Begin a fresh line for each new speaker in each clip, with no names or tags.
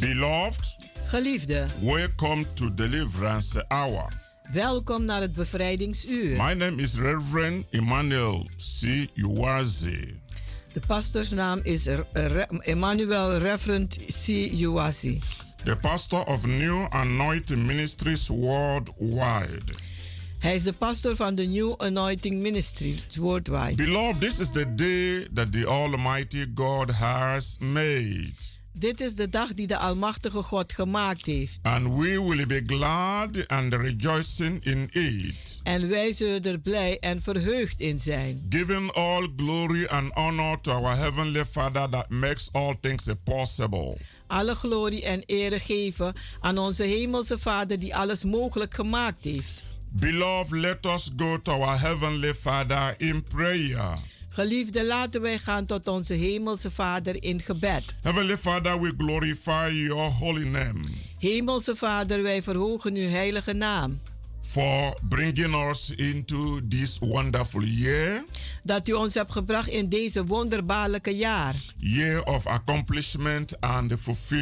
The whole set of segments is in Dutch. Beloved,
Geliefde,
welcome to Deliverance Hour.
welkom naar het bevrijdingsuur.
My name is Reverend Emmanuel C. Uwazi.
De pastorsnaam is R- Re- Emmanuel Reverend C. Uwasi,
the pastor of New Anointing Ministries worldwide.
Hij is de pastor van de New Anointing Ministry worldwide.
Beloved, this is the day that the Almighty God has made,
Dit is de dag die de Almachtige God gemaakt heeft.
and we will be glad and rejoicing in it,
En wij zullen er blij en verheugd in zijn.
giving all glory and honor to our Heavenly Father that makes all things possible.
Alle glorie en ere geven aan onze Hemelse Vader die alles mogelijk gemaakt heeft.
Beloved, let us go to our Heavenly Father in prayer.
Geliefde, laten wij gaan tot onze Hemelse Vader in gebed.
Heavenly Father, we glorify your holy name
Hemelse Vader, wij verhogen uw heilige naam.
for bringing us into this wonderful year,
Dat u ons hebt gebracht in deze wonderbaarlijke jaar.
year of accomplishment and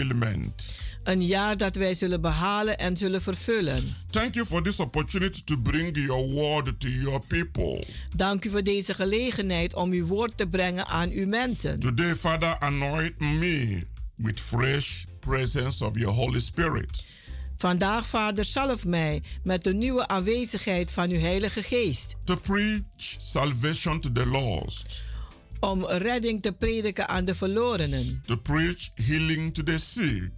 fulfillment.
Een jaar dat wij zullen behalen en zullen vervullen.
Thank you for this opportunity to bring your word to your people.
Dank u voor deze gelegenheid om uw woord te brengen aan uw mensen.
Today, Father, anoint me with fresh presence of your Holy Spirit.
Vandaag, Vader, zalf mij met de nieuwe aanwezigheid van uw Heilige Geest.
To preach salvation to the lost,
Om redding te prediken aan de verlorenen.
to preach healing to the sick,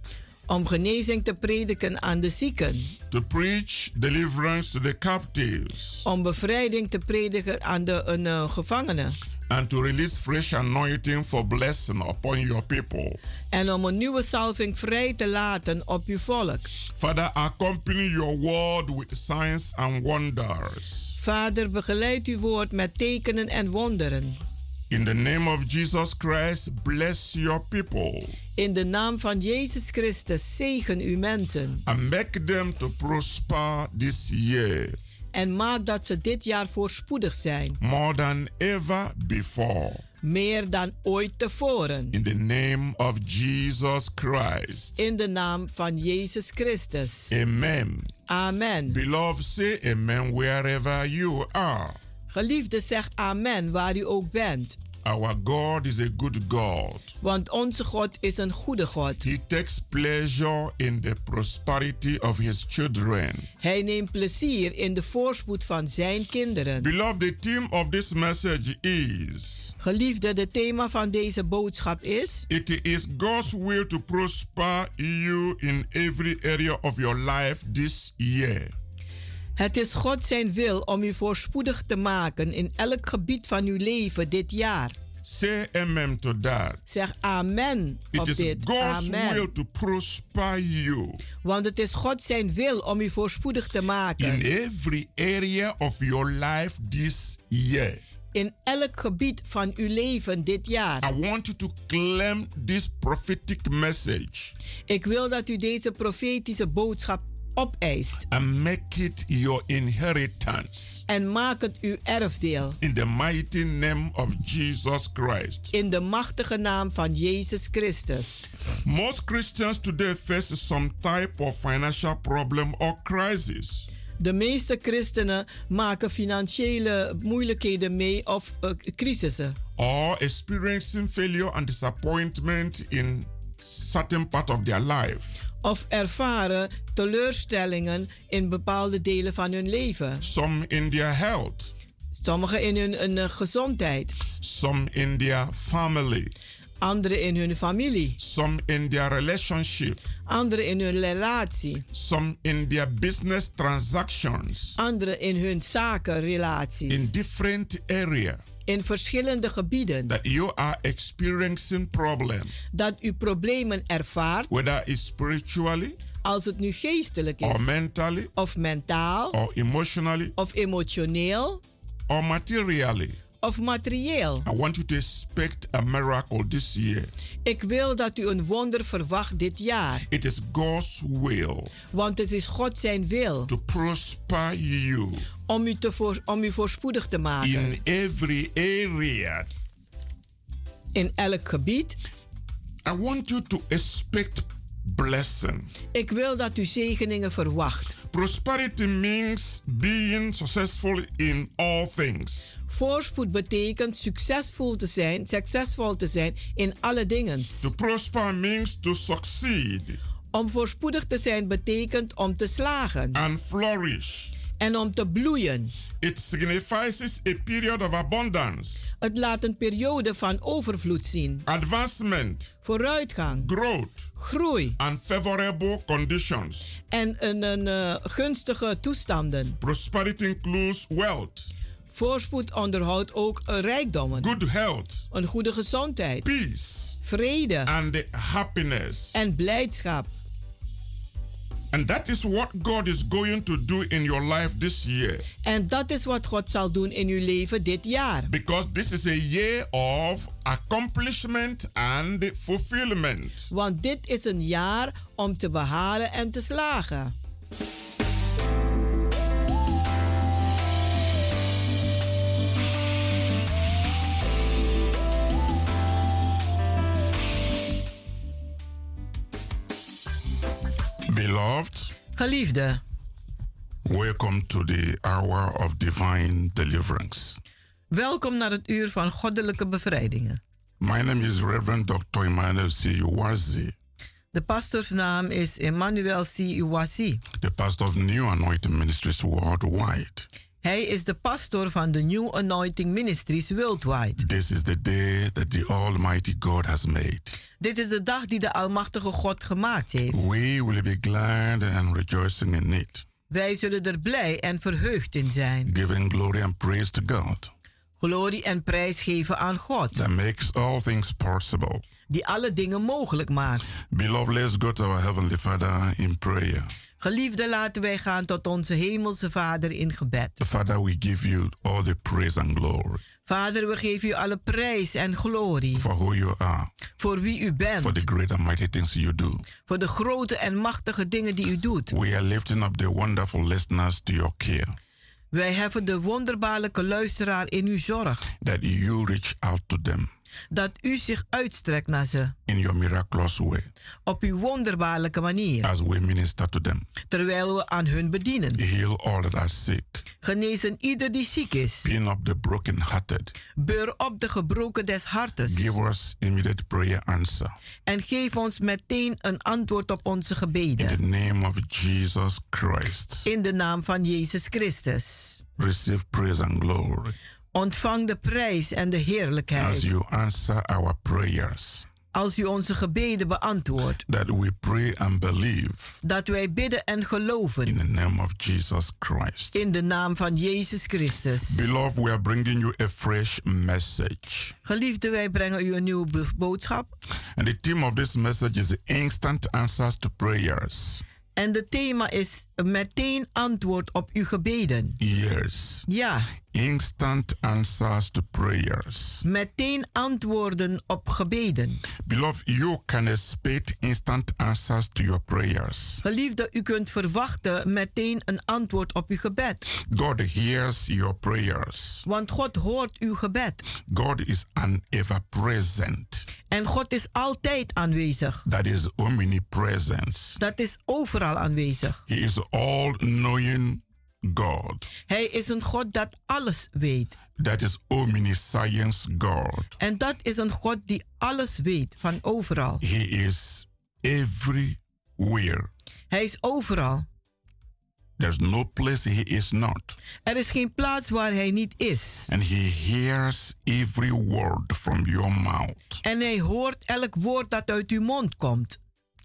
Om genezing te prediken aan de zieken.
to preach deliverance to the captives,
Om bevrijding te prediken aan de een, eh, gevangenen.
and to release fresh anointing for blessing upon your people.
En om een nieuwe salving vrij te laten op uw volk.
Father, accompany your word with signs and wonders.
Vader, begeleid uw woord met tekenen en wonderen.
In the name of Jesus Christ, bless your people
In de naam van Jezus Christus zegen uw mensen.
and make them to prosper this year
En maak dat ze dit jaar voorspoedig zijn.
more than ever before.
Meer dan ooit tevoren.
In the name of Jesus Christ.
In de naam van Jezus Christus.
Amen.
Amen.
Beloved, say amen wherever you are.
Geliefde, zeg amen waar u ook bent.
Our God is a good God.
Want onze God is een goede God.
He takes pleasure in the prosperity of his children.
Hij neemt plezier in de voorspoed van zijn kinderen.
Beloved, the theme of this message is
Geliefde, het thema van deze boodschap is...
It is God's will to prosper you in every area of your life this year.
Het is God zijn wil om u voorspoedig te maken in elk gebied van uw leven dit jaar.
Say amen to that.
Zeg amen
It
op
is
dit.
God's will
amen.
to prosper you
Want het is God zijn wil om u voorspoedig te maken.
in every area of your life this year.
in elk gebied van uw leven dit jaar.
I want you to claim this prophetic message
Ik wil dat u deze profetische boodschap opeist
and make it your inheritance.
en maak het uw erfdeel
In the mighty name of Jesus Christ.
in de machtige naam van Jezus Christus.
Most Christians today face some type of financial problem or crisis.
De meeste christenen maken financiële moeilijkheden mee of eh, crisissen.
or experiencing failure and disappointment in certain part of their life.
Of ervaren teleurstellingen in bepaalde delen van hun leven.
Some in their health,
Sommigen in hun hun, eh, gezondheid,
some in their family,
anderen in hun familie,
some in their relationship,
anderen in hun relatie.
some in their business transactions,
anderen in hun zakenrelaties.
in
In,
different area
verschillende gebieden.
that you are experiencing problem,
Dat u problemen ervaart,
whether it's spiritually
als het nu geestelijk
or
is,
mentally
of mentaal,
or emotionally
of emotioneel,
or materially.
of materieel.
I want you to expect a miracle this year.
Ik wil dat u een wonder verwacht dit jaar,
It is God's will
want het is God zijn wil
to prosper you
om u, te voor, om u voorspoedig te maken
in every area.
in elk gebied.
I want you to expect blessing.
Ik wil dat u zegeningen verwacht.
Prosperity means being successful in all things,
Voorspoed betekent succesvol te zijn, succesvol te zijn in alle dingen.
to prosper means to succeed
Om voorspoedig te zijn betekent om te slagen
and flourish.
en om te bloeien.
It signifies a period of abundance,
Het laat een periode van overvloed zien,
advancement,
vooruitgang,
growth,
groei
and favorable conditions.
en een, een eh, gunstige toestanden.
Prosperity includes wealth,
Voorspoed onderhoudt ook eh, rijkdommen,
good health,
een goede gezondheid,
peace,
vrede
and happiness.
en blijdschap.
And that is what God is going to do in your life this year.
En dat is wat God zal doen in uw leven dit jaar.
Because this is a year of accomplishment and fulfillment.
Want dit is een jaar om te behalen en te slagen.
Beloved,
Geliefde,
welcome to the hour of divine deliverance.
welkom naar het uur van goddelijke bevrijdingen.
My name is Reverend Dr. Emmanuel C. Uwazi,
De pastorsnaam is Emmanuel C. Iwasi.
the pastor of New Anointing Ministries worldwide.
Hij is de pastor van de New Anointing Ministries Worldwide.
This is the day that the Almighty God has made.
Dit is de dag die de Almachtige God gemaakt heeft.
We will be glad and rejoicing in it,
Wij zullen er blij en verheugd in zijn.
giving glory and praise to God
Glorie en prijs geven aan God,
that makes all things possible.
die alle dingen mogelijk maakt.
Beloved, let's go to our Heavenly Father in prayer.
Geliefde, laten wij gaan tot onze Hemelse Vader in gebed.
Father, we give you all the praise and glory
Vader, we geven u alle prijs en glorie
for who you are,
voor wie u bent,
for the great and mighty things you do.
voor de grote en machtige dingen die u doet.
We are lifting up the wonderful listeners to your care,
Wij heffen de wonderbaarlijke luisteraar in uw zorg,
that you reach out to them
dat u zich uitstrekt naar ze
in your miraculous way
op uw wonderbaarlijke manier,
as we minister to them.
terwijl we aan hun bedienen.
Heal all that are sick.
Genezen ieder die ziek is,
Pin up the brokenhearted.
beur op de gebroken des hartes
Give us immediate prayer answer.
en geef ons meteen een antwoord op onze
In the
gebeden.
name of Jesus Christ,
In de naam van Jezus Christus.
receive praise and glory
Ontvang de prijs en de heerlijkheid.
as you answer our prayers
als u onze gebeden beantwoordt,
that we pray and believe
dat wij bidden en geloven
in the name of Jesus Christ.
in de naam van Jezus Christus.
Beloved, we are bringing you a fresh message.
Geliefde, wij brengen u een nieuwe bo- boodschap.
And the theme of this message is instant answers to prayers.
En het thema is meteen antwoord op uw gebeden.
Yes,
Ja,
instant answers to prayers.
meteen antwoorden op gebeden.
Beloved, you can expect instant answers to your prayers.
Geliefde, u kunt verwachten meteen een antwoord op uw gebed.
God hears your prayers.
Want God hoort uw gebed.
God is an ever present.
En God is altijd aanwezig.
That is omnipresence.
Dat is overal aanwezig.
He is all knowing God.
Hij is een God dat alles weet.
That is omniscience God.
En dat is een God die alles weet van overal.
He is everywhere.
Hij is overal.
There's no place he is not.
Er is geen plaats waar hij niet is.
And he hears every word from your mouth.
En hij hoort elk woord dat uit uw mond komt.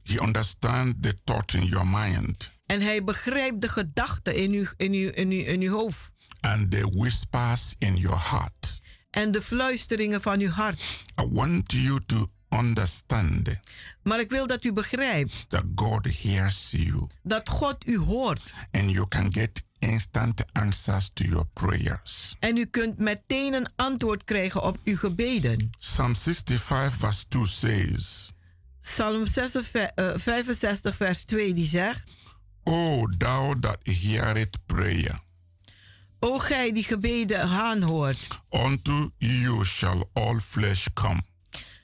He understands the thought in your mind
En hij begrijpt de gedachten in uw, in, uw, in, uw, in uw hoofd.
and the whispers in your heart.
En de fluisteringen van uw hart.
I want you to understand
Maar ik wil dat u begrijpt
that God hears you
dat God u hoort.
and you can get instant answers to your prayers.
En u kunt meteen een antwoord krijgen op uw gebeden.
Psalm 65, verse 2 says,
Psalm 66, eh, 65, vers 2 die zegt:
O thou that heareth prayer,
O gij die gebeden aanhoort,
unto you shall all flesh come.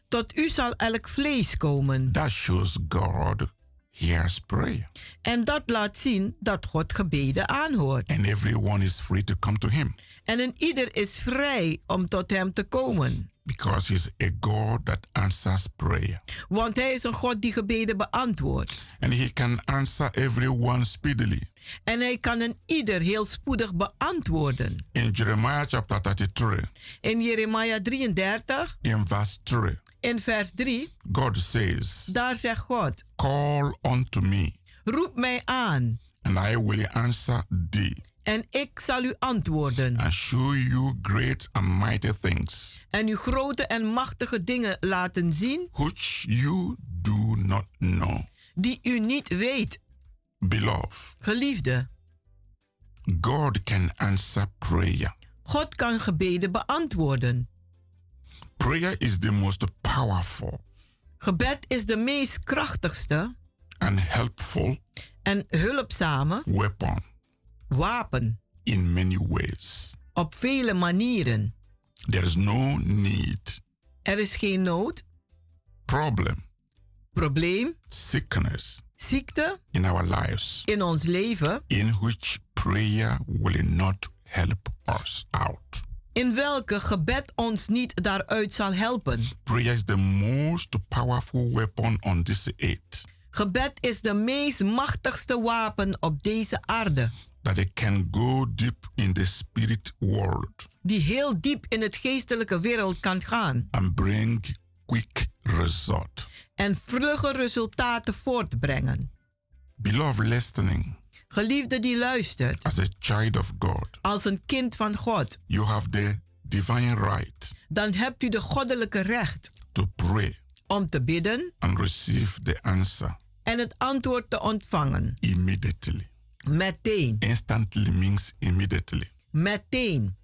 Tot u zal elk vlees komen.
That shows God
hears prayer.
En dat laat zien dat God gebeden aanhoort.
And everyone is free to come to him
En een ieder is vrij om tot hem te komen.
because he's a God that answers prayer.
Want hij is een God die gebeden beantwoordt.
And he can answer everyone speedily.
En hij kan een ieder heel spoedig beantwoorden.
In Jeremiah chapter 33,
In Jeremia 33,
in verse 3,
in vers 3,
God says,
daar zegt God:
Call unto me,
Roep mij aan
and I will answer thee,
en ik zal u antwoorden.
and show you great and mighty things
En u grote en machtige dingen laten zien
which you do not know.
die u niet weet,
Beloved,
geliefde.
God can answer prayer.
God kan gebeden beantwoorden.
Prayer is the most powerful
Gebed is de meest krachtigste
and helpful
en hulpzame
weapon
wapen
in many ways.
op vele manieren.
There is no need,
Er is geen nood,
problem,
probleem,
sickness
ziekte
in our lives
in ons leven
in which prayer will not help us out.
in welke gebed ons niet daaruit zal helpen.
Prayer is the most powerful weapon on this earth
Gebed is de meest machtigste wapen op deze aarde,
that it can go deep in the spirit world
die heel diep in het geestelijke wereld kan gaan
and bring quick result.
en vlugge resultaten voortbrengen.
Beloved listening,
Geliefde die luistert,
as a child of God,
als een kind van God,
you have the divine right
dan hebt u de goddelijke recht
to pray
om te bidden
and receive the answer
en het antwoord te ontvangen.
immediately.
Meteen,
Instantly means immediately.
meteen.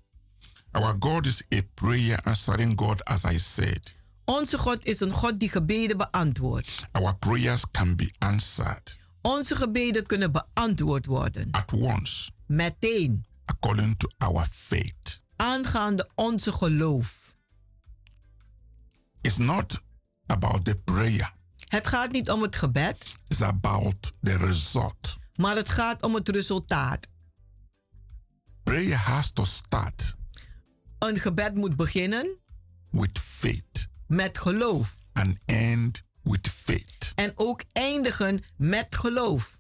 Our God is a prayer answering God, as I said.
Onze God is een God die gebeden beantwoordt.
Our prayers can be answered
Onze gebeden kunnen beantwoord worden.
at once
Meteen,
according to our faith.
aangaande onze geloof.
It's not about the prayer,
Het gaat niet om het gebed,
it's about the result.
maar het gaat om het resultaat.
Prayer has to start
Een gebed moet beginnen
with faith
met geloof
and end with faith.
en ook eindigen met geloof.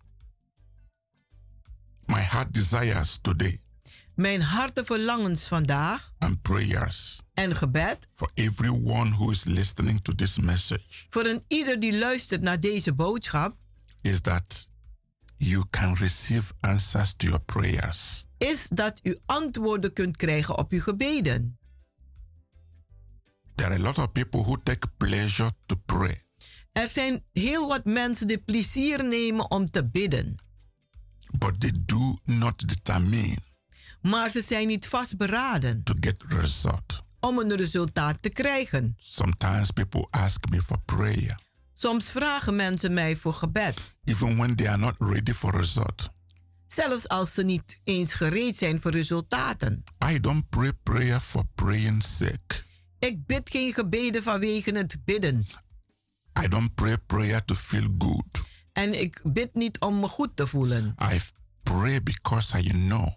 My heart desires today
Mijn harte verlangens vandaag
and prayers
en gebed
for everyone who is listening to this message
voor een ieder die luistert naar deze boodschap
is that you can receive answers to your prayers.
is dat u antwoorden kunt krijgen op uw gebeden.
There are a lot of people who take pleasure to pray,
Er zijn heel wat mensen die plezier nemen om te bidden,
but they do not determine
maar ze zijn niet vastberaden
to get result.
om een resultaat te krijgen.
Sometimes people ask me for prayer
Soms vragen mensen mij voor gebed.
even when they are not ready for result.
zelfs als ze niet eens gereed zijn voor resultaten.
I don't pray prayer for praying's sake.
Ik bid geen gebeden vanwege het bidden.
I don't pray prayer to feel good.
En ik bid niet om me goed te voelen.
I pray because I know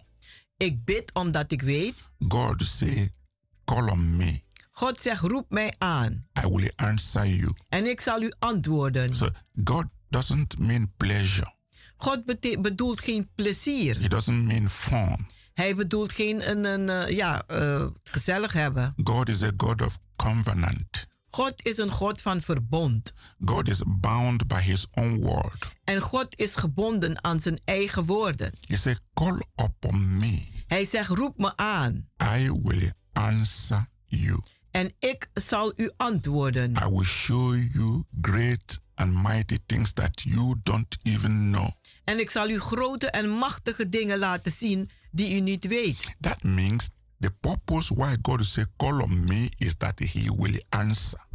Ik bid omdat ik weet,
God say, call on me.
God zegt roep mij aan
I will answer you.
en ik zal u antwoorden.
So God doesn't mean pleasure.
God bete- bedoelt geen plezier.
He doesn't mean fun.
Hij bedoelt geen een, een, eh, ja, eh, gezellig hebben.
God is a God of covenant.
God is een God van verbond.
God is bound by his own word.
En God is gebonden aan zijn eigen woorden.
He said, Call upon me.
Hij zegt roep me aan
I will answer you.
en ik zal u antwoorden.
I will show you great and mighty things that you don't even know.
En ik zal u grote en machtige dingen laten zien die u niet weet.
That means the purpose why God said, Call on me is that he will answer.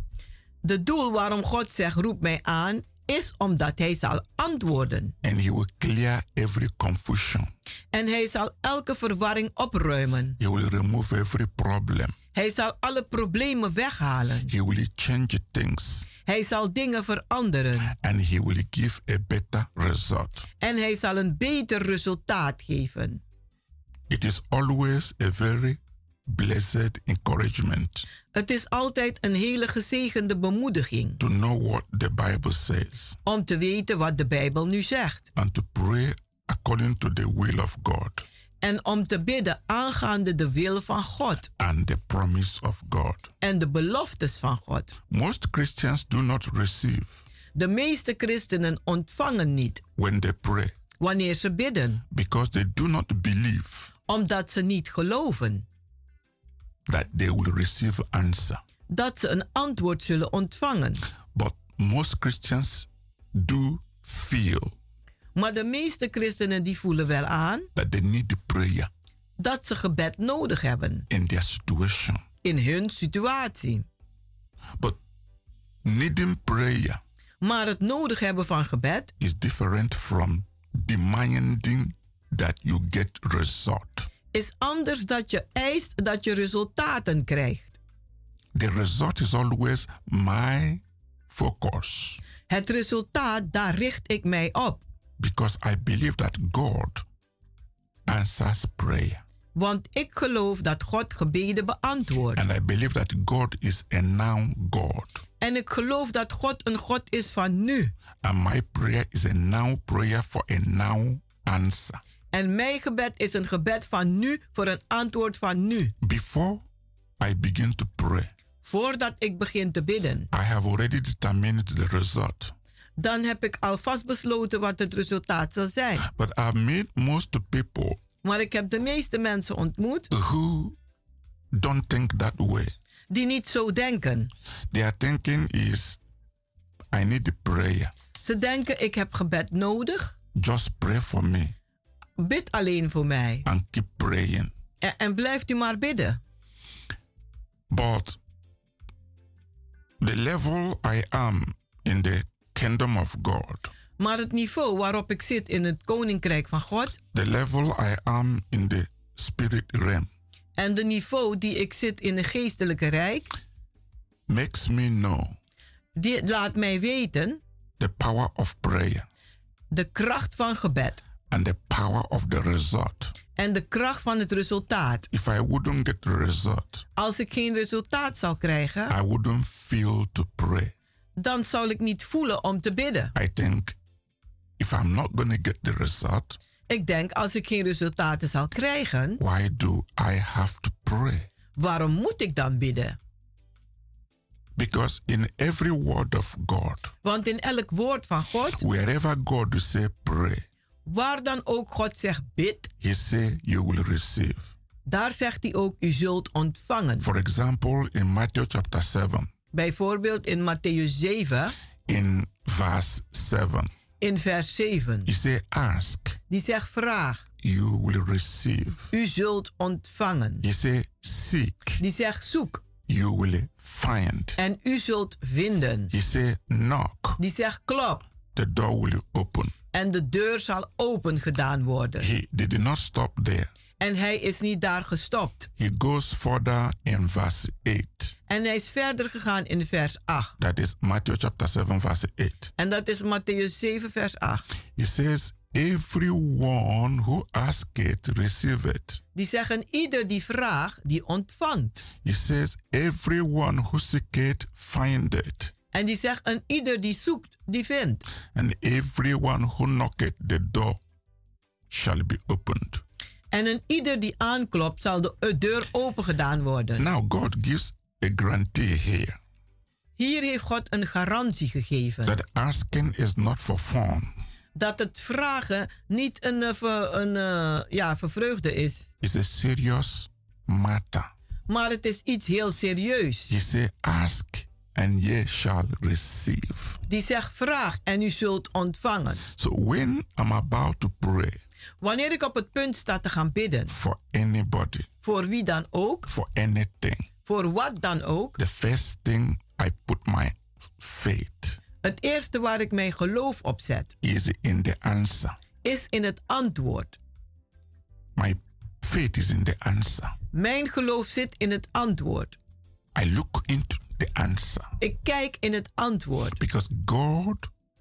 De doel waarom God zegt roep mij aan is omdat hij zal antwoorden.
And he will clear every confusion.
En hij zal elke verwarring opruimen.
He will remove every problem.
Hij zal alle problemen weghalen.
He will change things.
Hij zal dingen veranderen
and He will give a better result.
en hij zal een beter resultaat geven.
It is always a very blessed encouragement
Het is altijd een hele gezegende bemoediging
to know what the Bible says
om te weten wat de Bijbel nu zegt
and to pray according to the will of God
en om te bidden aangaande de wil van God
and the promise of God.
en de beloftes van God.
Most Christians do not receive
De meeste christenen ontvangen niet
when they pray
wanneer ze bidden,
because they do not believe
omdat ze niet geloven
that they will receive answer.
dat ze een antwoord zullen ontvangen.
But most Christians do feel
Maar de meeste christenen die voelen wel aan
that they need prayer
dat ze gebed nodig hebben
in their situation.
in hun situatie.
But needing prayer
Maar het nodig hebben van gebed
is different from demanding that you get result.
is anders dat je eist dat je resultaten krijgt.
The result is always my focus
Het resultaat, daar richt ik mij op,
because I believe that God answers prayer.
want ik geloof dat God gebeden beantwoordt.
And I believe that God is a now God.
En ik geloof dat God een God is van nu.
And my prayer is a now prayer for a now answer.
En mijn gebed is een gebed van nu voor een antwoord van nu.
Before I begin to pray,
Voordat ik begin te bidden,
I have already determined the result.
dan heb ik alvast besloten wat het resultaat zal zijn.
But I've made most people
Maar ik heb de meeste mensen ontmoet
who don't think that way.
die niet zo denken.
Their thinking is, I need a prayer.
Ze denken: ik heb gebed nodig,
Just pray for me
bid alleen voor mij.
and keep praying.
En, en blijft u maar bidden.
But the level I am in the kingdom of God,
Maar het niveau waarop ik zit in het koninkrijk van God
the level I am in the spirit realm,
en de niveau die ik zit in het geestelijke rijk,
makes me know
die laat mij weten
the power of prayer
de kracht van gebed
and the power of the result.
en de kracht van het resultaat.
If I wouldn't get the result,
Als ik geen resultaat zou krijgen,
I wouldn't feel to pray.
dan zal ik niet voelen om te bidden.
I think if I'm not going to get the result,
Ik denk, als ik geen resultaten zal krijgen,
why do I have to pray?
waarom moet ik dan bidden?
Because in every word of God,
Want in elk woord van God,
wherever God say pray,
waar dan ook God zegt bid,
he say you will receive.
daar zegt hij ook u zult ontvangen.
For example, in Matthew chapter 7,
Bijvoorbeeld in Matthäus 7,
in verse 7,
in vers 7.
he say ask,
Die zegt vraag,
you will receive.
u zult ontvangen.
He say seek,
Die zegt zoek
you will find.
en u zult vinden.
He say knock,
Die zegt klop
the door will open.
en de deur zal open gedaan worden.
He they did not stop there.
En hij is niet daar gestopt.
He goes further in verse 8.
En hij is verder gegaan in vers 8.
That is Matthew chapter 7, verse 8.
En dat is Matthäus 7, vers 8.
He says, Everyone who asketh receiveth.
Die zeggen ieder die vraagt, die ontvangt.
He says, Everyone who seeketh findeth.
En die zegt en ieder die zoekt, die vindt.
And everyone who knocketh the door shall be opened.
En een ieder die aanklopt, zal de eh, deur open gedaan worden.
Now, God gives a guarantee here
Hier heeft God een garantie gegeven.
that asking is not for fun.
Dat het vragen niet een, eh, ver- een eh, ja, vervreugde is.
It's a serious matter.
Maar het is iets heel
He
serieus.
says, Ask and ye shall receive.
Die zegt vraag en u zult ontvangen.
So when I'm about to pray
Wanneer ik op het punt sta te gaan bidden,
for anybody,
voor wie dan ook,
for anything,
voor wat dan ook,
the first thing I put my faith
het eerste waar ik mijn geloof op zet,
is in the answer.
is in het antwoord.
My faith is in the answer.
Mijn geloof zit in het antwoord.
I look into the answer
Ik kijk in het antwoord,
because God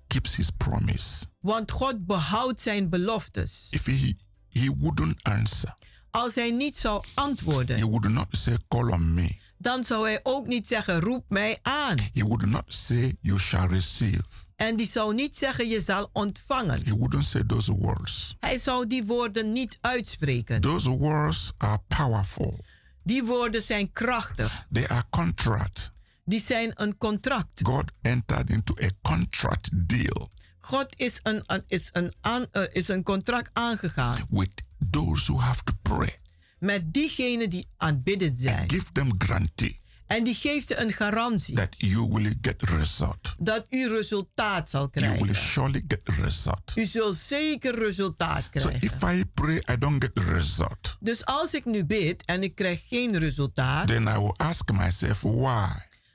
keeps his promise.
want God behoudt zijn beloftes.
If he he wouldn't answer,
Als hij niet zou
he
antwoorden,
would not say call on me.
dan zou hij ook niet zeggen roep mij aan.
He would not say you shall receive.
En die zou niet zeggen je zal ontvangen.
He wouldn't say those words.
Hij zou die woorden niet uitspreken.
Those words are powerful.
Die woorden zijn krachtig.
They are contract.
Die zijn een contract.
God entered into a contract deal
God is een, een- is een, aan- eh, is een contract aangegaan
with those who have to pray.
met diegenen die aanbidden zijn.
Give them guarantee
En die geeft ze een garantie
that you will get result.
dat u resultaat zal
You will
krijgen.
surely get result.
U zult zeker resultaat
So
krijgen.
if I pray, I don't get result.
Dus als ik nu bid en ik krijg geen resultaat,
Then I will ask myself why.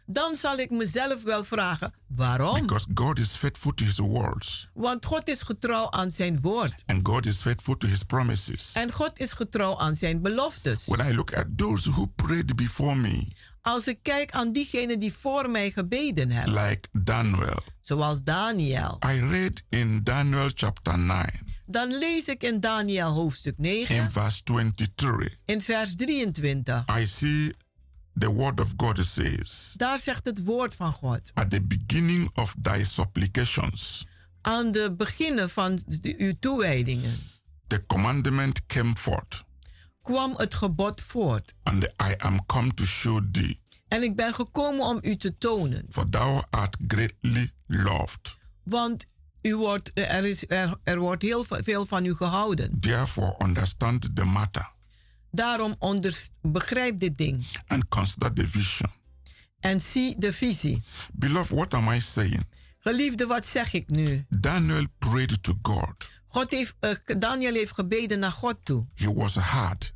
dan zal ik mezelf wel vragen waarom.
Because God is faithful to His words
Want God is getrouw aan zijn woord.
and God is faithful to His promises.
En God is getrouw aan zijn beloftes.
When I look at those who prayed before me,
Als ik kijk aan diegenen die voor mij gebeden hebben,
like Daniel,
zoals Daniel,
I read in Daniel chapter 9,
dan lees ik in Daniel hoofdstuk
in
9
verse 23,
in vers 23.
I see the word of God says,
Daar zegt het woord van God.
At the beginning of thy supplications,
Aan de beginnen van de, uw toewijdingen
the commandment came forth,
kwam het gebod voort.
and I am come to show thee,
En ik ben gekomen om u te tonen.
for thou art greatly loved.
Want u wordt, eh, er, is, er, er wordt heel ve- veel van u gehouden.
Therefore, understand the matter
Daarom onders- begrijp dit ding.
and consider the vision.
En zie de visie.
Beloved, what am I saying?
Geliefde, wat zeg ik nu?
Daniel prayed to God.
God heeft, eh, Daniel heeft gebeden naar God toe.
He was hard,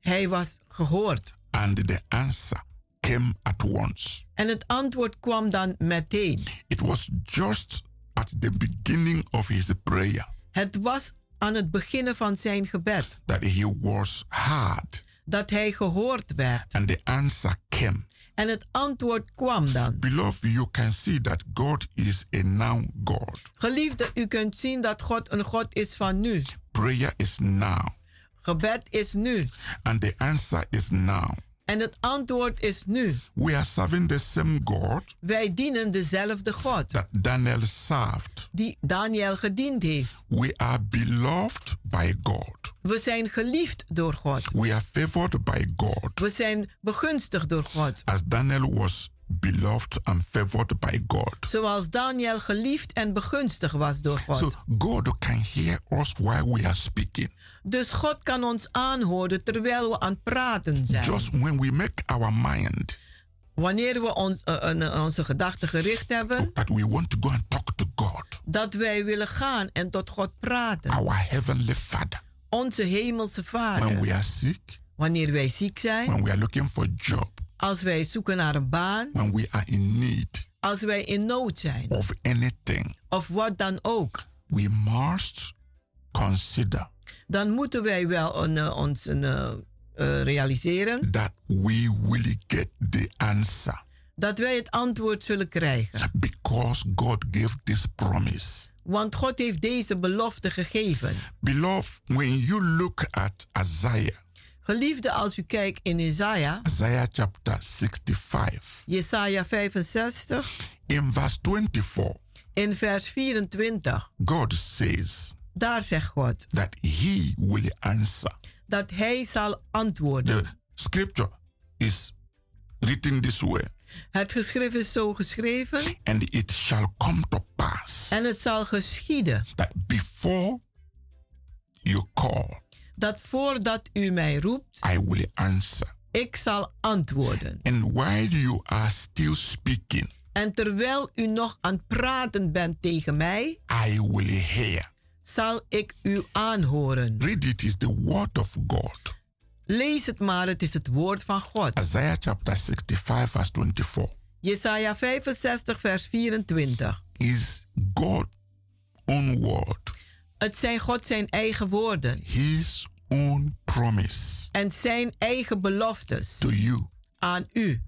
Hij was gehoord.
and the answer came at once.
En het antwoord kwam dan meteen.
It was just at the beginning of his prayer
Het was aan het beginnen van zijn gebed
that he was hard,
dat hij gehoord werd.
and the answer came.
En het antwoord kwam dan.
Beloved, you can see that God is a now God.
Geliefde, u kunt zien dat God een God is van nu.
Prayer is now,
Gebed is nu.
and the answer is now.
En het antwoord is nu.
We are serving the same God
Wij dienen dezelfde God
that Daniel served.
die Daniel gediend heeft.
We are beloved by God.
We zijn geliefd door God.
We are favored by God.
We zijn begunstigd door God.
As Daniel was beloved and favored by God.
Zoals Daniel geliefd en begunstigd was door God.
So God can hear us while we are speaking.
Dus God kan ons aanhoren terwijl we aan het praten zijn.
Just when we make our mind
Wanneer we ons, eh, eh, onze gedachten gericht hebben,
that we want to go and talk to God,
dat wij willen gaan en tot God praten.
our heavenly Father,
Onze hemelse
when
Vader.
we are sick,
Wanneer wij ziek zijn,
when we are looking for a job,
als wij zoeken naar een baan,
when we are in need
als wij in nood zijn
of anything,
of wat dan ook,
we must consider
dan moeten wij wel een, eh, ons een, eh, eh, realiseren
that we will get the answer
dat wij het antwoord zullen krijgen.
because God gave this promise.
Want God heeft deze belofte gegeven.
Beloved, when you look at Isaiah,
Geliefde, als u kijkt in Isaiah,
Isaiah chapter 65,
Jesaja 65,
in verse 24,
in vers 24,
God says
daar zegt God
that He will answer.
dat Hij zal antwoorden.
The scripture is written this way
Het geschrift is zo geschreven
and it shall come to pass
en het zal geschieden
that before you call,
dat voordat u mij roept,
I will answer.
ik zal antwoorden.
And while you are still speaking,
En terwijl u nog aan het praten bent tegen mij,
I will hear.
zal ik u aanhoren.
Read it is the word of God.
Lees het maar, het is het woord van God.
Isaiah chapter 65, verse 24.
Jesaja 65, vers 24.
Is God own word,
Het zijn God zijn eigen woorden
His own promise
en zijn eigen beloftes
to you,
aan u,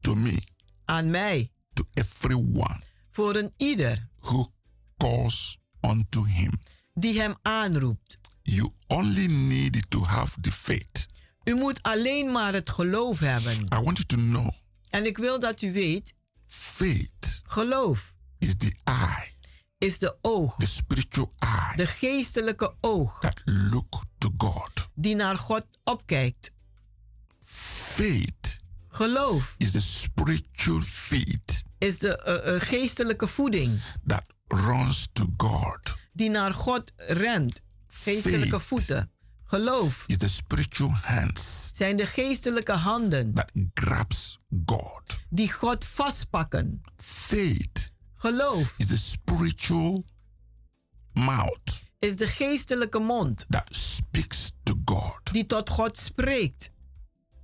to me,
aan mij,
to everyone
voor een ieder
who calls unto him.
die hem aanroept.
You only need to have the faith.
U moet alleen maar het geloof hebben.
I want you to know
En ik wil dat u weet,
faith
geloof
is the eye,
is de oog,
the spiritual eye
de geestelijke oog
that look to God.
die naar God opkijkt.
Faith
Geloof
is the spiritual faith
is de eh, eh, geestelijke voeding
that runs to God.
die naar God rent. Geestelijke
Faith
voeten. Geloof
is the spiritual hands
zijn de geestelijke handen
that grabs God.
die God vastpakken.
Faith
Geloof
is the spiritual mouth
is de geestelijke mond
that speaks to God.
die tot God spreekt.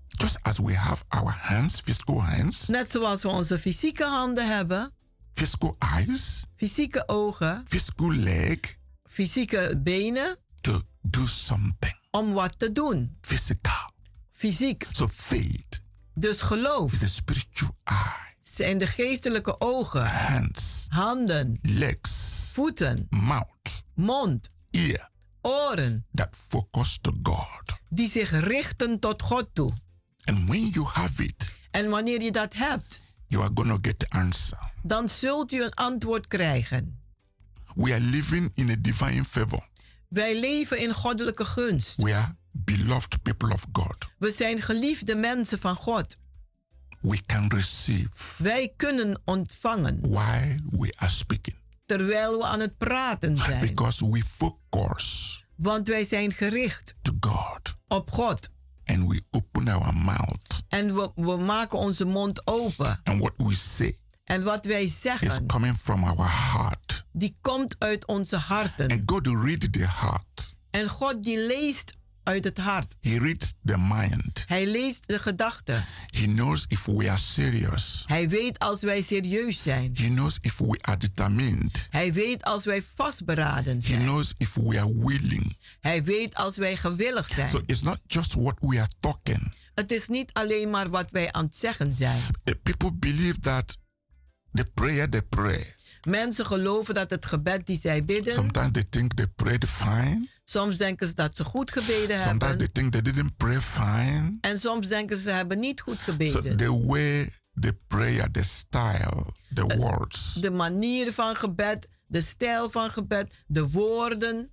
Just as we have our hands, physical hands,
Net zoals we onze fysieke handen hebben,
physical eyes,
fysieke ogen,
physical leg
fysieke benen
to do something
om wat te doen.
physical.
Fysiek.
So faith
Dus geloof
is the spiritual eye,
zijn de geestelijke ogen,
hands,
handen,
legs,
voeten,
mouth,
mond,
ear
oren
that focus to God.
die zich richten tot God toe.
And when you have it,
En wanneer je dat hebt,
you are going to get the answer.
dan zult u een antwoord krijgen.
We are living in a divine favor.
Wij leven in goddelijke gunst.
We are beloved people of God.
We zijn geliefde mensen van God.
We can receive
Wij kunnen ontvangen
while we are speaking
terwijl we aan het praten zijn.
because we focus
Want wij zijn gericht
to God
op God.
and we open our mouth.
En we, we maken onze mond open.
And what we say
En wat wij
is
zeggen,
coming from our heart.
die komt uit onze harten.
And God read the heart.
En God die leest uit het hart.
He reads the mind.
Hij leest de gedachten.
He knows if we are serious.
Hij weet als wij serieus zijn.
He knows if we are determined.
Hij weet als wij vastberaden
He
zijn.
knows if we are willing.
Hij weet als wij gewillig
So
zijn.
it's not just what we are talking.
Het is niet alleen maar wat wij aan het zeggen zijn.
Uh, People believe that the prayer they pray.
Mensen geloven dat het gebed die zij bidden,
Sometimes they think they prayed fine.
soms denken ze dat ze goed gebeden
Sometimes they
hebben.
think they didn't pray fine.
En soms denken ze, ze hebben niet goed
So
gebeden.
the way the prayer, the style, the words,
De manier van gebed, de stijl van gebed, de woorden.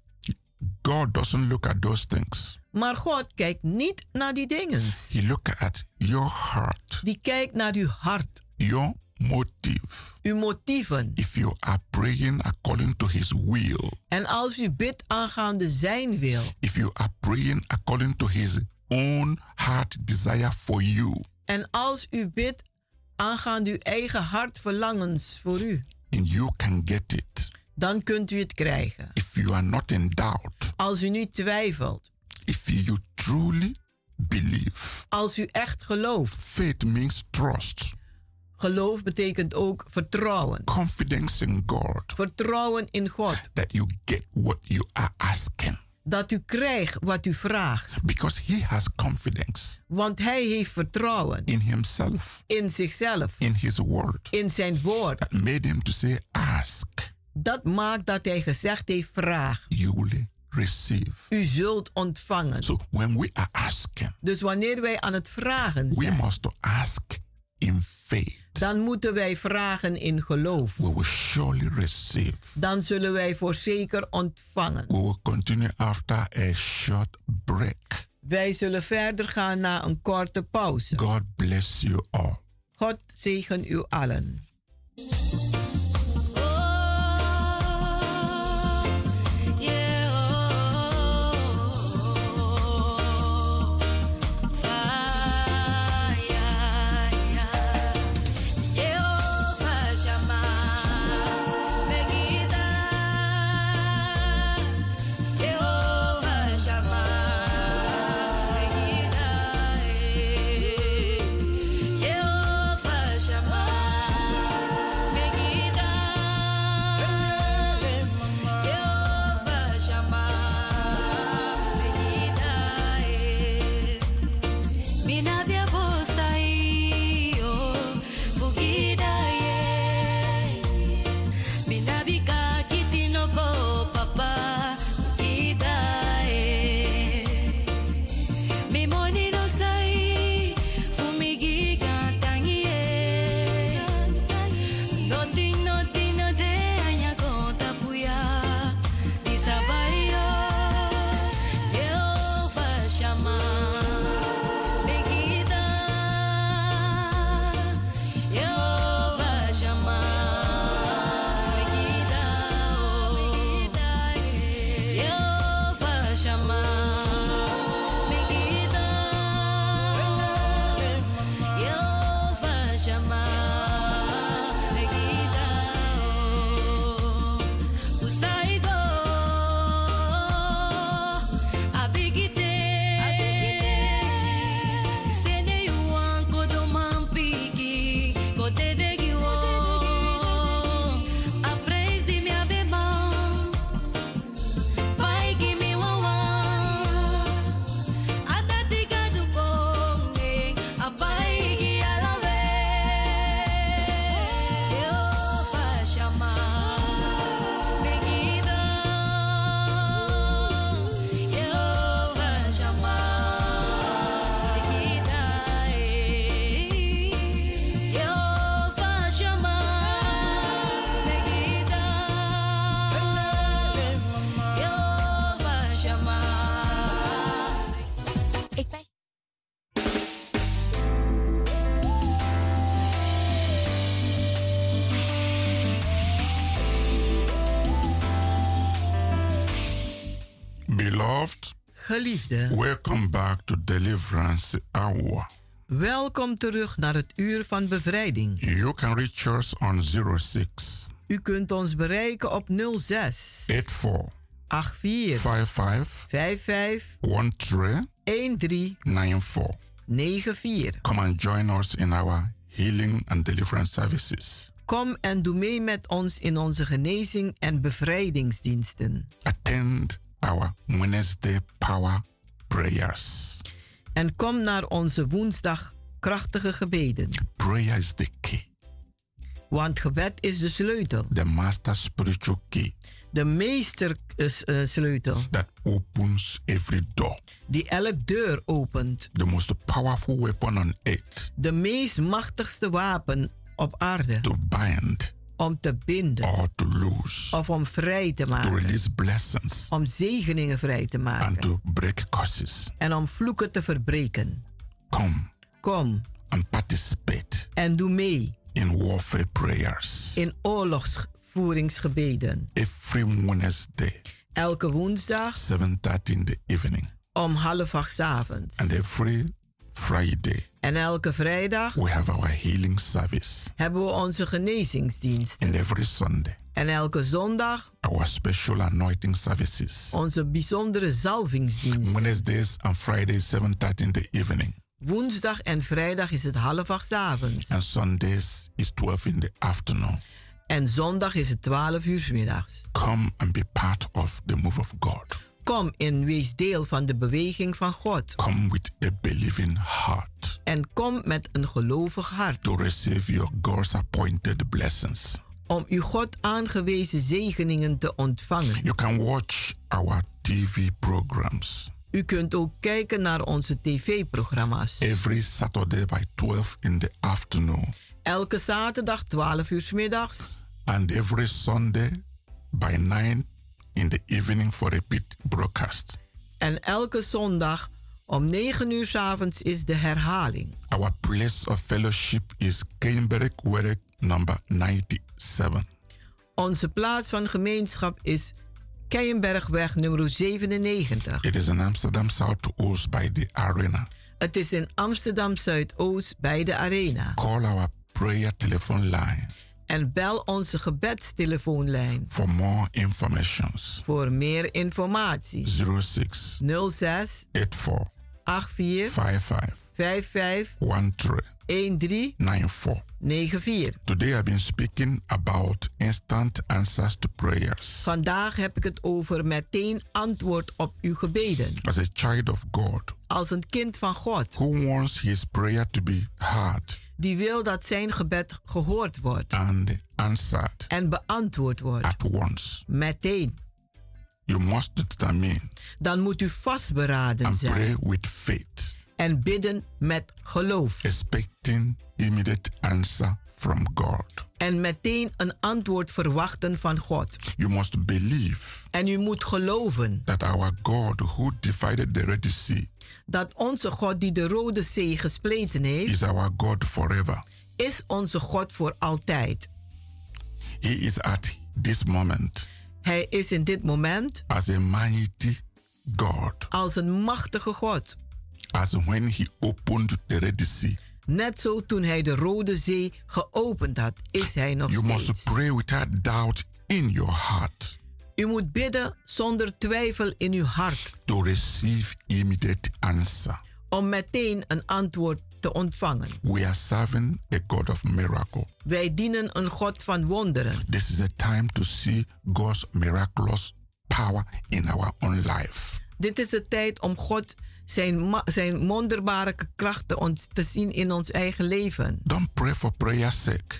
God doesn't look at those things.
Maar God kijkt niet naar die dingen.
He look at your heart,
Die kijkt naar uw hart,
your motive.
uw motieven.
If you are praying according to His will,
En als u bidt aangaande zijn wil,
if you are praying according to His own heart desire for you,
en als u bidt aangaande uw eigen hartverlangens voor u,
and you can get it.
dan kunt u het krijgen.
If you are not in doubt,
Als u niet twijfelt,
if you truly believe,
als u echt gelooft.
faith means trust,
Geloof betekent ook vertrouwen.
confidence in God
Vertrouwen in God.
that you get what you are asking
Dat u krijgt wat u vraagt.
because He has confidence
Want hij heeft vertrouwen
in Himself,
in zichzelf,
in His word.
in zijn woord.
That made Him to say, Ask,
Dat maakt dat hij gezegd heeft: vraag.
you will receive.
U zult ontvangen.
So when we are asking,
Dus wanneer wij aan het vragen
we
zijn,
must ask in faith.
dan moeten wij vragen in geloof.
We will surely receive.
Dan zullen wij voor zeker ontvangen.
We will continue after a short break.
Wij zullen verder gaan na een korte pauze.
God bless you all.
God zegen u allen.
Yeah. Jehovah Shammah, oh, é
Beloved,
Geliefde,
welcome back to Deliverance Hour.
welkom terug naar het uur van bevrijding.
You can reach us on 06
U kunt ons bereiken op 06
84
84
55
55
1394.
13 94.
Come and join us in our healing and deliverance services.
Kom en doe mee met ons in onze genezing en bevrijdingsdiensten.
Attend our Wednesday power prayers.
En kom naar onze woensdag krachtige gebeden.
Prayer is the key,
Want gebed is de sleutel,
the master spiritual key
de meester is, eh, sleutel,
that opens every door.
die elk deur opent.
The most powerful weapon on earth
De meest machtigste wapen op aarde
to bind
om te binden
or to loose,
of om vrij te
to
maken.
release blessings
Om zegeningen vrij te
and
maken
to break curses.
en om vloeken te verbreken.
Come
Kom
and participate
en doe mee
in warfare prayers
in oorlogsvoeringsgebeden.
every Wednesday,
Elke woensdag
7.30 in the evening.
om half acht 's avonds.
And every Friday,
En elke vrijdag
we have our healing service.
hebben we onze genezingsdienst.
And every Sunday,
En elke zondag
our special anointing services.
onze bijzondere zalvingsdienst.
Wednesdays and Fridays, 7.30 in the evening.
Woensdag en vrijdag is het half acht 's avonds.
And Sundays is 12 in the afternoon.
En zondag is het 12 uur 's middags.
Come and be part of the move of God.
Kom en wees deel van de beweging van God.
Come with a believing heart
En kom met een gelovig hart
to receive your God's appointed blessings.
om uw God aangewezen zegeningen te ontvangen.
You can watch our TV programs
U kunt ook kijken naar onze tv-programma's.
every Saturday by 12 in the afternoon
Elke zaterdag 12 uur 's middags
and every Sunday by 9 in the evening for repeat broadcast.
En elke zondag om 9 uur 's avonds is de herhaling.
Our place of fellowship is Cambridge Werek number 97.
Onze plaats van gemeenschap is Keienbergweg nummer 97.
It is in Amsterdam South Oost by the arena.
Het is in Amsterdam Zuidoost bij de Arena.
Call our prayer telephone line
En bel onze gebedstelefoonlijn
for more information.
voor meer informatie.
06
06
84
84
55
55 13
94.
94.
Today I've been speaking about instant answers to prayers.
Vandaag heb ik het over meteen antwoord op uw gebeden.
As a child of God
Als een kind van God.
who wants his prayer to be heard
die wil dat zijn gebed gehoord wordt
and answered
en beantwoord wordt.
at once,
Meteen.
you must determine
Dan moet u vastberaden
and pray
zijn
with faith,
en bidden met geloof.
expecting immediate answer from God.
En meteen een antwoord verwachten van God.
You must believe
En u moet geloven
that our God who divided the Red Sea
dat onze God die de Rode Zee gespleten heeft,
is our God forever.
is onze God voor altijd.
He is at this moment
Hij is in dit moment
as a mighty God,
als een machtige God.
as when He opened the Red Sea.
Net zo toen hij de Rode Zee geopend had, is hij nog
You
steeds.
must pray without doubt in your heart
U moet bidden zonder twijfel in uw hart
to receive immediate answer.
om meteen een antwoord te ontvangen.
We are serving a God of miracle.
Wij dienen een God van wonderen.
This is a time to see God's miraculous power in our own life.
Dit is de tijd om God zijn, ma- zijn wonderbare krachten ons te zien in ons eigen leven.
Don't pray for prayer's sake.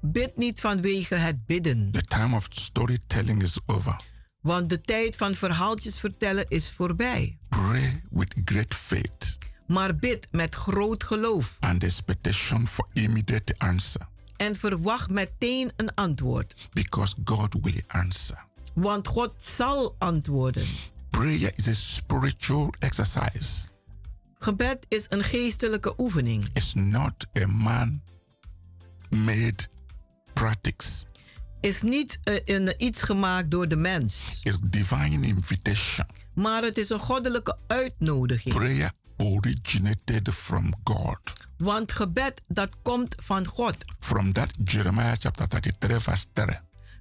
Bid niet vanwege het bidden,
The time of storytelling is over.
want de tijd van verhaaltjes vertellen is voorbij.
Pray with great faith
Maar bid met groot geloof
and expectation for immediate answer
en verwacht meteen een antwoord,
because God will answer.
want God zal antwoorden.
Prayer is a spiritual exercise.
Gebed is een geestelijke oefening.
It's not a man made practice.
is niet eh, een, iets gemaakt door de mens,
It's divine invitation.
maar het is een goddelijke uitnodiging.
Prayer originated from God.
Want gebed dat komt van God.
From that Jeremiah chapter 33 verse 3.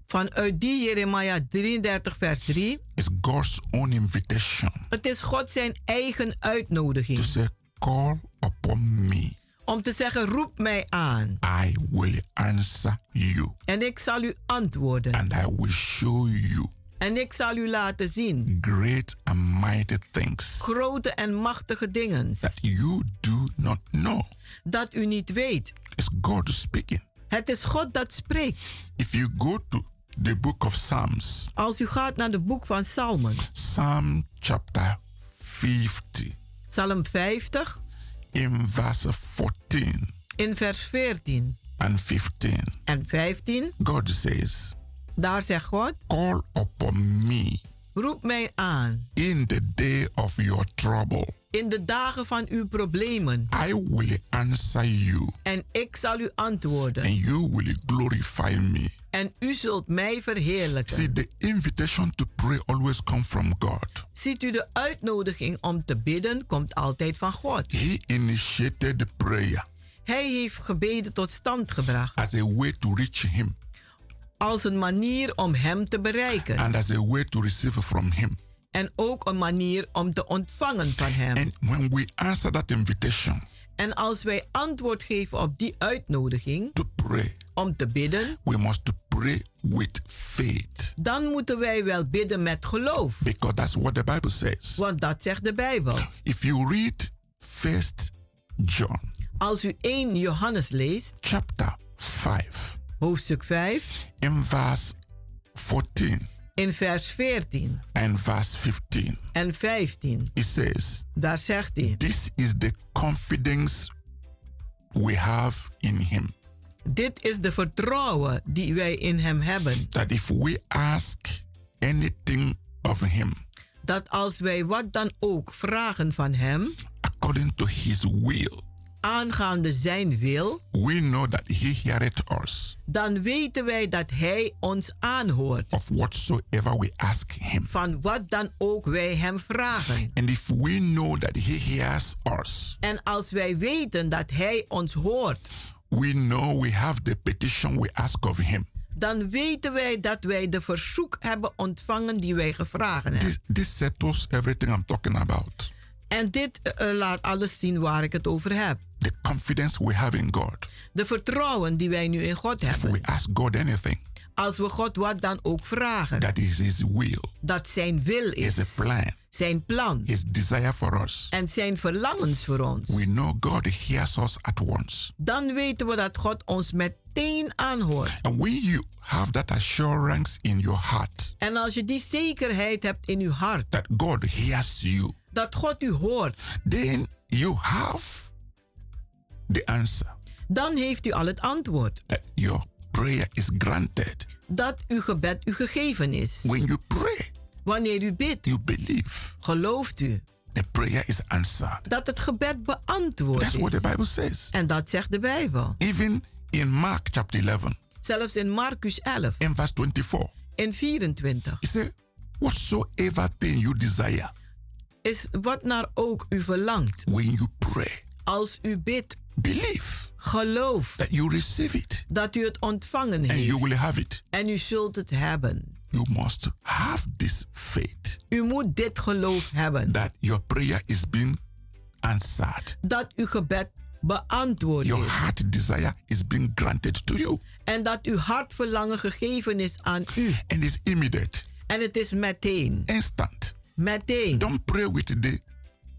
Vanuit die Jeremia 33 vers 3.
It's God's own invitation
Het is God zijn eigen
to
uitnodiging.
say, call upon me.
Om te zeggen, roep mij aan.
I will answer you
En ik zal u antwoorden.
and I will show you
En ik zal u laten zien.
great and mighty things
Grote en machtige dingen.
that you do not know.
Dat u niet weet.
It's God speaking.
Het is God dat spreekt.
If you go to the book of Psalms,
Als u gaat naar het boek van Psalmen.
Psalm chapter 50,
Psalm 50
in verse 14
in vers 14
and 15,
en 15.
God says,
Daar zegt God,
Call upon me
roep mij aan.
in the day of your trouble.
In de dagen van uw problemen.
I will answer you
En ik zal u
and
antwoorden.
you will glorify me.
En u zult mij
See,
verheerlijken.
the invitation to pray always comes from God.
Ziet u de uitnodiging om te bidden komt altijd van God.
He initiated the prayer
Hij heeft gebeden tot stand gebracht
as a way to reach Him
als een manier om hem te bereiken
and as a way to receive from Him.
en ook een manier om te ontvangen van hem.
And when we answer that invitation
En als wij antwoord geven op die uitnodiging
to pray,
om te bidden,
we must to pray with faith
dan moeten wij wel bidden met geloof,
because that's what the Bible says.
want dat zegt de Bijbel.
If you read First John
Als u 1 Johannes leest,
chapter 5
hoofdstuk 5,
in verse 14
in vers 14
and verse 15,
en 15,
it says,
daar zegt hij:
This is the confidence we have in Him.
Dit is de vertrouwen die wij in hem hebben.
That if we ask anything of Him
dat als wij wat dan ook vragen van Hem,
according to His will,
aangaande Zijn wil,
we know that He heareth us
dan weten wij dat Hij ons aanhoort
of whatsoever we ask Him.
van wat dan ook wij Hem vragen.
And if we know that He hears us,
En als wij weten dat Hij ons hoort,
we know we have the petition we ask of Him.
dan weten wij dat wij de verzoek hebben ontvangen die wij gevragen hebben.
This, this settles everything I'm talking about.
En dit eh, eh, laat alles zien waar ik het over heb.
The confidence we have in God.
De vertrouwen die wij nu in God
If we
hebben.
ask God anything
Als we God wat dan ook vragen.
that is His will,
Dat zijn wil
His
is.
plan,
Zijn plan.
His desire for us,
en zijn verlangens voor
we
ons,
know God hears us at once.
dan weten we dat God ons meteen aanhoort.
And when you have that assurance in your heart
En als je die zekerheid hebt in uw hart
that God hears you,
dat God u hoort,
then you have the answer
dan heeft u al het antwoord
that your prayer is granted.
dat uw gebed u gegeven is.
When you pray,
Wanneer u bidt,
you believe
gelooft u
the prayer is answered.
dat het gebed beantwoord
That's what
is.
the Bible says.
En dat zegt de Bijbel.
Even in Mark chapter 11,
Zelfs in Marcus 11
in verse 24,
en 24
he said, Whatsoever thing you desire
is wat naar ook u verlangt.
when you pray,
Als u bidt,
believe
geloof
that you receive it
dat u het ontvangen
and you
heeft
will have it.
en u zult het hebben.
You must have this faith
U moet dit geloof hebben.
that your prayer is being answered.
Dat uw gebed beantwoord
Your
is.
heart desire is being granted to you
En dat uw hartverlangen gegeven is aan u.
and is immediate,
En het is meteen.
instant.
Meteen.
Don't pray with the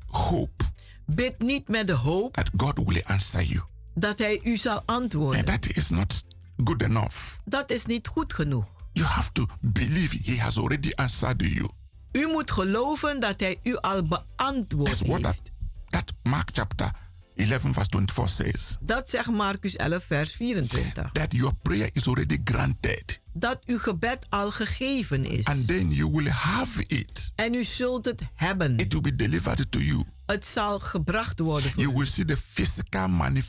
hope
Bid niet met de hoop
that God will answer you.
dat hij u zal
And
antwoorden.
that is not good enough.
Dat is niet goed genoeg.
You have to believe He has already answered you.
U moet geloven dat hij u al beantwoord
That's what that,
heeft.
that Mark chapter 11, verse 24 says.
Dat zegt Marcus 11, vers 24.
That your prayer is already granted.
Dat uw gebed al gegeven
And
is.
then you will have it.
En u zult het hebben.
It will be delivered to you.
Het zal gebracht worden. voor
You will see the physical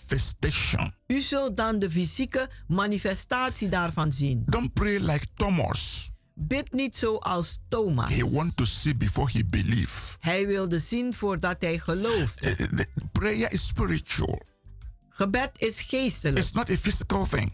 manifestation.
U zult dan de fysieke manifestatie daarvan zien.
Don't pray like Thomas.
Bid niet zoals Thomas.
He want to see before he believe.
Hij wilde zien voordat hij geloofde.
Eh, the prayer is spiritual.
Gebed is geestelijk,
It's not a physical thing.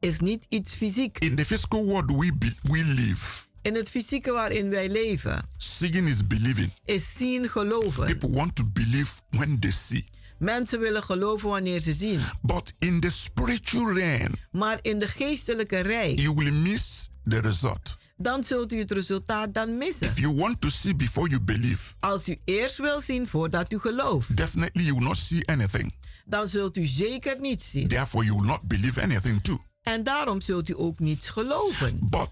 is niet iets fysiek.
In the physical world we be, we live.
In het fysieke waarin wij leven
Seeing is believing.
is zien geloven.
People want to believe when they see.
Mensen willen geloven wanneer ze zien.
But in the spiritual realm,
Maar in de geestelijke rij,
you will miss the result.
dan zult u het resultaat dan missen.
If you want to see before you believe,
Als u eerst wil zien voordat u gelooft,
definitely you will not see anything.
dan zult u zeker niets zien.
Therefore, you will not believe anything too.
En daarom zult u ook niets geloven.
But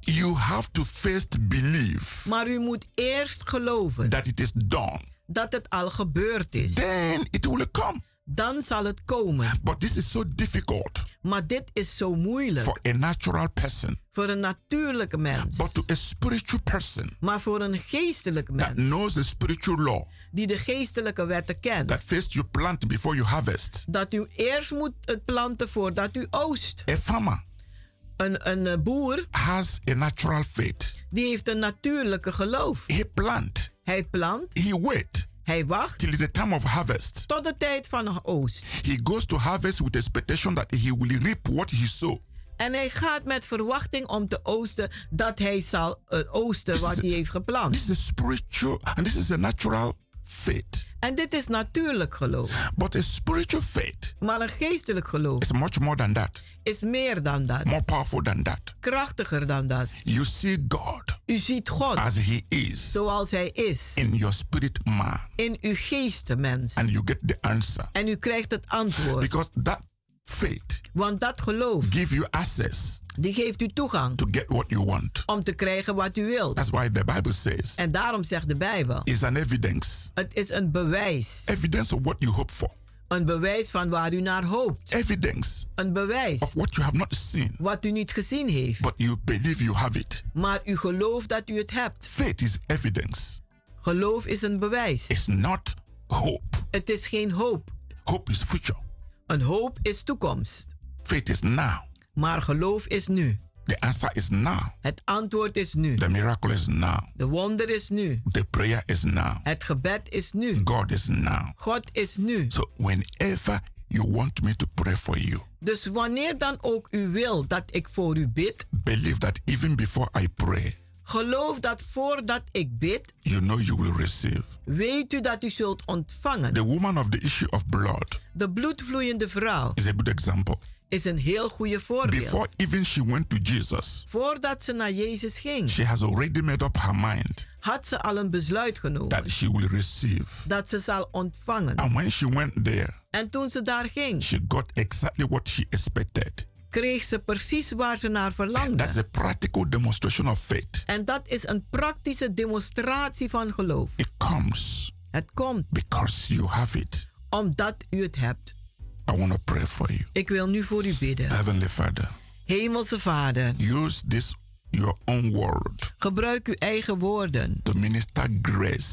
you have to first believe
Maar u moet eerst geloven
that it is done.
dat het al gebeurd is.
Then it will come.
Dan zal het komen.
But this is so difficult
Maar dit is zo
for
moeilijk
a natural person.
voor een natuurlijke
But
mens.
to a spiritual person
Maar voor een geestelijke
that
mens
knows the spiritual law,
die de geestelijke wetten kent,
that first you plant before you harvest,
dat u eerst moet het planten voordat u oost.
a farmer
Een, een eh, boer
has a natural faith.
die heeft een natuurlijke geloof.
He plant,
Hij plant,
he wait
hij wacht
till the time of harvest.
tot de tijd van oost.
He goes to harvest with expectation that he will reap what he sow.
En hij gaat met verwachting om te oosten dat hij zal eh, oosten wat hij heeft
This
geplant.
is a spiritual and this is a natural faith.
En dit is natuurlijk geloof.
But a spiritual faith
Maar een geestelijk geloof
is much more than that,
is meer dan dat,
more powerful than that.
krachtiger dan dat.
You see God
U ziet God
as he is
zoals hij is
in your spirit man
in uw geesten, mens.
and you get the answer
En u krijgt het antwoord.
because that faith
Want dat geloof,
give you access
die geeft u toegang
to get what you want.
om te krijgen wat u wilt.
That's why the Bible says
En daarom zegt de Bijbel,
it's an evidence,
het is een bewijs.
evidence of what you hope for,
Een bewijs van waar u naar hoopt.
evidence
Een bewijs
of what you have not seen
wat u niet gezien heeft.
but you believe you have it.
Maar u gelooft dat u het hebt.
Faith is evidence.
Geloof is een bewijs.
It's not hope.
Het is geen hoop.
Hope is future.
Een hoop is toekomst.
Faith is now.
Maar geloof is nu.
The answer is now.
Het antwoord is nu.
The miracle is now.
De wonder is nu.
The prayer is now.
Het gebed is nu.
God is now.
God is nu.
So whenever you want me to pray for you,
Dus wanneer dan ook u wil dat ik voor u bid,
believe that even before I pray,
geloof dat voordat ik bid,
you know you will receive.
weet u dat u zult ontvangen.
The woman of the issue of blood
De bloedvloeiende vrouw
is a good example.
is een heel goede voorbeeld.
Before even she went to Jesus,
Voordat ze naar Jezus ging,
she has already made up her mind
had ze al een besluit genomen
that she will receive.
dat ze zal ontvangen.
And when she went there,
En toen ze daar ging,
she got exactly what she expected.
kreeg ze precies waar ze naar
That's
verlangde.
a practical demonstration of faith.
En dat is een praktische demonstratie van geloof.
It comes
Het komt
because you have it.
omdat u het hebt.
I want to pray for you.
Ik wil nu voor u bidden.
Heavenly Father,
Hemelse Vader,
use this your own word
gebruik uw eigen woorden
to minister grace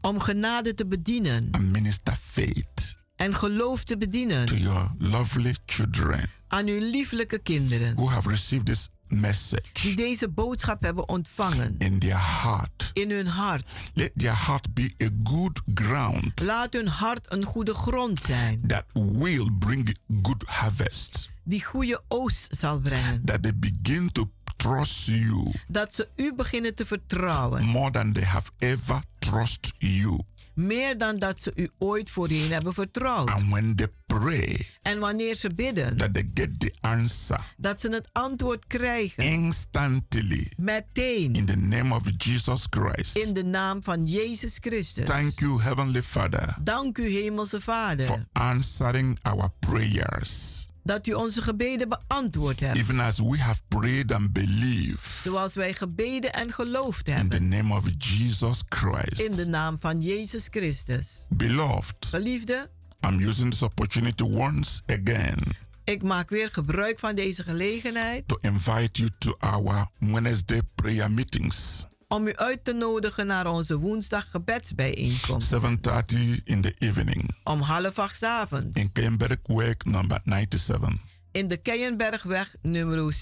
om genade te bedienen
and minister faith
en geloof te
to
bedienen
your lovely children
aan uw lieflijke kinderen
who have received this
die
message
deze boodschap hebben ontvangen
in their heart.
in hun hart.
Let their heart be a good ground
Laat hun hart een goede grond zijn
that will bring good harvest,
die goede oost zal brengen.
that they begin to trust you
Dat ze u beginnen te vertrouwen,
more than they have ever trust you.
meer dan dat ze u ooit voorheen hebben vertrouwd.
And when they pray,
En wanneer ze bidden,
that they get the answer
dat ze het antwoord krijgen
instantly
meteen
in the name of Jesus Christ.
in de naam van Jezus Christus.
Thank you, Heavenly Father,
Dank u,
for
Hemelse Vader,
answering our prayers.
dat u onze gebeden beantwoord hebt.
Even as we have prayed and believed
Zoals wij gebeden en geloofd
in the
hebben.
name of Jesus
In de
Christ.
naam van Jezus Christus.
Beloved,
Geliefde,
I'm using this opportunity once again
ik maak weer gebruik van deze gelegenheid
to invite you to our Wednesday prayer meetings.
om u uit te nodigen naar onze woensdag gebedsbijeenkomst
7.30 in the evening
om half acht 's avonds
in Kenberg Work number 97.
in de Keienbergweg nummer
Our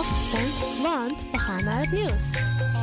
afstand, want we gaan naar het nieuws.